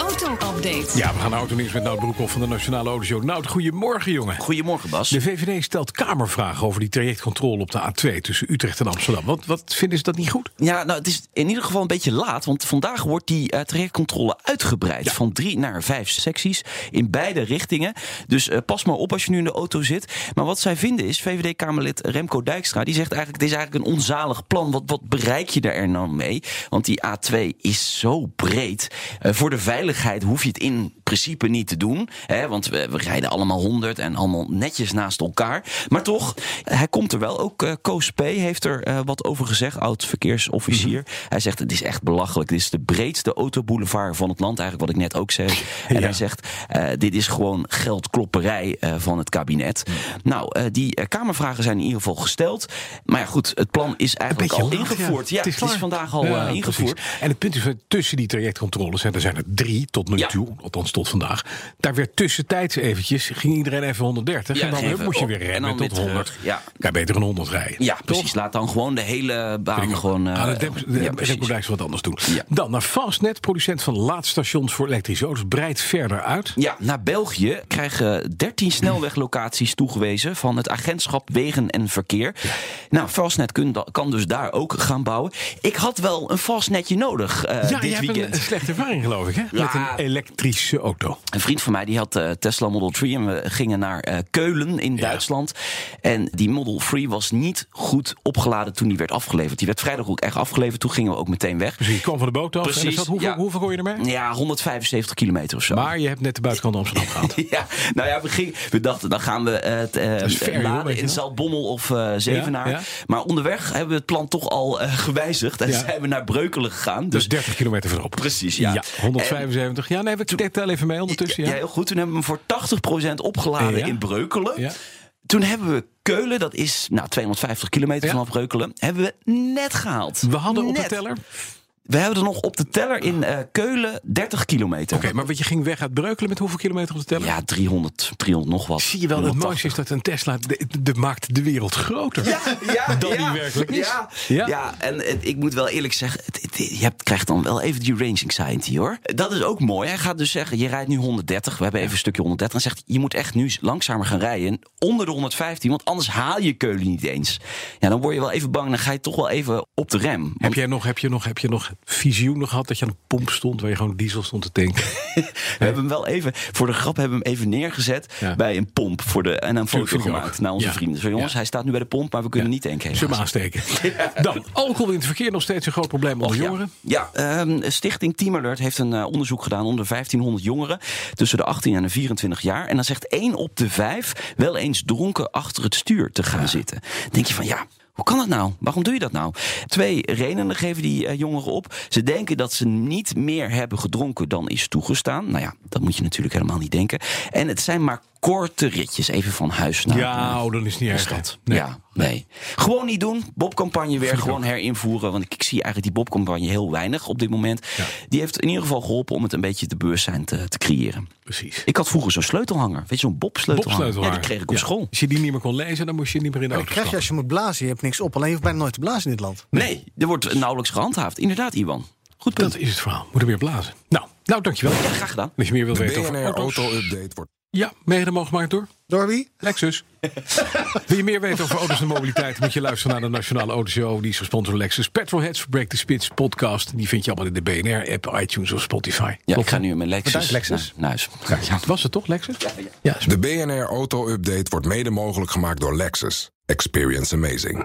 Auto-update. Ja, we gaan naar Autonieuws met Nout Broekhoff van de Nationale Autoshow. Nout, goedemorgen jongen. Goedemorgen Bas. De VVD stelt Kamervragen over die trajectcontrole op de A2 tussen Utrecht en Amsterdam. Wat, wat vinden ze dat niet goed? Ja, nou, het is in ieder geval een beetje laat, want vandaag wordt die eh, trajectcontrole uitgebreid Ja. van drie naar vijf secties in beide richtingen. Dus eh, pas maar op als je nu in de auto zit. Maar wat zij vinden is, VVD-Kamerlid Remco Dijkstra, die zegt eigenlijk, dit is eigenlijk een onzalig plan. Wat, wat bereik je daar er nou mee? Want die A2 is zo breed. Eh, voor de veiligheid hoef je het in principe niet te doen, hè, want we, we rijden allemaal 100 en allemaal netjes naast elkaar. Maar toch, hij komt er wel. Ook eh Koos P. heeft er eh, wat over gezegd, oud verkeersofficier. Mhm. Hij zegt, het is echt belachelijk. Dit is de breedste autoboulevard van het land, eigenlijk wat ik net ook zei. En Ja. hij zegt, eh, dit is gewoon geldklopperij eh, van het kabinet. Mhm. Nou, eh, die eh, Kamervragen zijn in ieder geval gesteld. Maar ja, goed, het plan is eigenlijk al laat, ingevoerd. Ja, het is, klaar. vandaag al Ja, eh, ingevoerd. precies. En het punt is, eh, tussen die trajectcontroles, en er zijn er drie tot nu Ja. toe, althans tot vandaag. Daar werd tussentijds eventjes, ging iedereen even 130 Ja, en dan even weer moest je weer op en dan remmen tot weer terug. 100. Ja. Kan je beter een 100 rijden. Ja, toch? precies. Laat dan gewoon de hele baan gewoon... eh, Ah, de Demp- de ja, Demp- precies. Demp- Dijkstra wat anders doen. Ja. Dan naar Fastnet, producent van laadstations voor elektrische auto's, breidt verder uit. Ja, naar België krijgen 13 snelweglocaties toegewezen van het agentschap Wegen en Verkeer. Nou, Fastnet kun- kan dus daar ook gaan bouwen. Ik had wel een Fastnetje nodig eh, ja, je dit hebt een, weekend. een slechte ervaring, geloof ik, hè? Met een elektrische auto. Een vriend van mij die had eh, Tesla Model 3 en we gingen naar eh, Keulen in Duitsland. En die Model 3 was niet goed opgeladen toen die werd afgeleverd. Die werd vrijdag ook echt afgeleverd. Toen gingen we ook meteen weg. Dus je kwam van de boot af en er Precies, zat, hoeveel, ja. hoeveel kon je ermee? Ja, 175 kilometer of zo. Maar je hebt net de buitenkant Amsterdam gehad. Ja, nou ja, we, gingen- we dachten, dan gaan we het eh, is ver, joh, weet laden je in wel. Zaltbommel of eh, Zevenaar. Ja, ja. Maar onderweg hebben we het plan toch al eh, gewijzigd. En Ja. zijn we naar Breukelen gegaan. Dus Dus 30 kilometer verderop. Precies, ja. 175. ja, nee, we ik tel even mee ondertussen. ja, Ja. heel goed. Toen hebben we hem voor 80% opgeladen Ja. in Breukelen. Ja. Toen hebben we Keulen, dat is nou, 250 kilometer Ja. vanaf Breukelen, hebben we net gehaald. We hadden op de Net. teller. Oké, We hebben er nog op de teller in eh, Keulen 30 kilometer. maar wat je ging weg uit Breukelen met hoeveel kilometer op de teller? Ja, 300, 300 nog wat. Zie je wel, het 380. mooiste is dat een Tesla de, de maakt de wereld groter. Ja, ja, Dat ja, die werkelijk is. Ja, Ja. ja. en het- ik moet wel eerlijk zeggen, het, het- je hebt- krijgt dan wel even die range anxiety hoor. Dat is ook mooi. Hij gaat dus zeggen, je rijdt nu 130, we hebben even een stukje 130. En zegt, je moet echt nu langzamer gaan rijden, onder de 115, want anders haal je keulen niet eens. Ja, dan word je wel even bang, dan ga je toch wel even op de rem. Heb Want- jij nog, heb je nog, heb je nog visioenen gehad dat je aan de pomp stond waar je gewoon diesel stond te tanken? We hebben hem wel even, voor de grap hebben we hem even neergezet Ja. bij een pomp voor de, en een Tuurlijk, foto vind ik gemaakt ook. naar onze Ja. vrienden. Zo jongens, Ja. hij staat nu bij de pomp, maar we kunnen niet tanken. Zullen we helaas. aansteken. Dan, alcohol in het verkeer nog steeds een groot probleem onder Och, jongeren. Ja, ja ehm, Stichting Team Alert heeft een eh, onderzoek gedaan onder 1500 jongeren tussen de 18 en de 24 jaar. En dan zegt 1 op de 5 wel eens dronken achter het stuur te gaan zitten. Dan denk je van ja. Hoe kan dat nou? Waarom doe je dat nou? Twee redenen geven die eh, jongeren op. Ze denken dat ze niet meer hebben gedronken dan is toegestaan. Nou ja, dat moet je natuurlijk helemaal niet denken. En het zijn maar korte ritjes, even van huis naar eh, Ja, oh, dan is het niet erg. hè. Nee. ja, nee. Gewoon niet doen. Bobcampagne weer Vind ik gewoon herinvoeren. Want ik, ik zie eigenlijk die Bobcampagne heel weinig op dit moment. Ja. Die heeft in ieder geval geholpen om het een beetje te bewustzijn te, te creëren. Precies. Ik had vroeger zo'n sleutelhanger. Weet je, zo'n Bob-sleutelhanger. Bobsleutelhanger. Ja, die kreeg ik op Ja. school. Oh, Als je die niet meer kon lezen, dan moest je niet meer in de Dat auto krijg je stappen. als je moet blazen. Je hebt niks op. Alleen je hoeft bijna nooit te blazen in dit land. Nee, er wordt nauwelijks gehandhaafd. Inderdaad, Iwan. Goed punt. Dat is het verhaal. Moet er weer blazen. Nou, nou dankjewel. Ja, graag gedaan. Als je Oh, meer wilt weten over BNR auto's. Auto-update wordt. Ja, mede mogelijk gemaakt door Door wie? Lexus. Wil je meer weten over auto's en mobiliteit? Moet je luisteren naar de Nationale Auto Show. Die is gesponsord door Lexus. Petrolheads, Break the Spits podcast. Die vind je allemaal in de BNR-app, iTunes of Spotify. Ja, ik Klopt, ga hè? nu met Lexus, Bedankt, Lexus. naar, naar huis. Ja. Kijk, was het toch, Lexus? Ja, is- De BNR Auto-update wordt mede mogelijk gemaakt door Lexus. Experience amazing.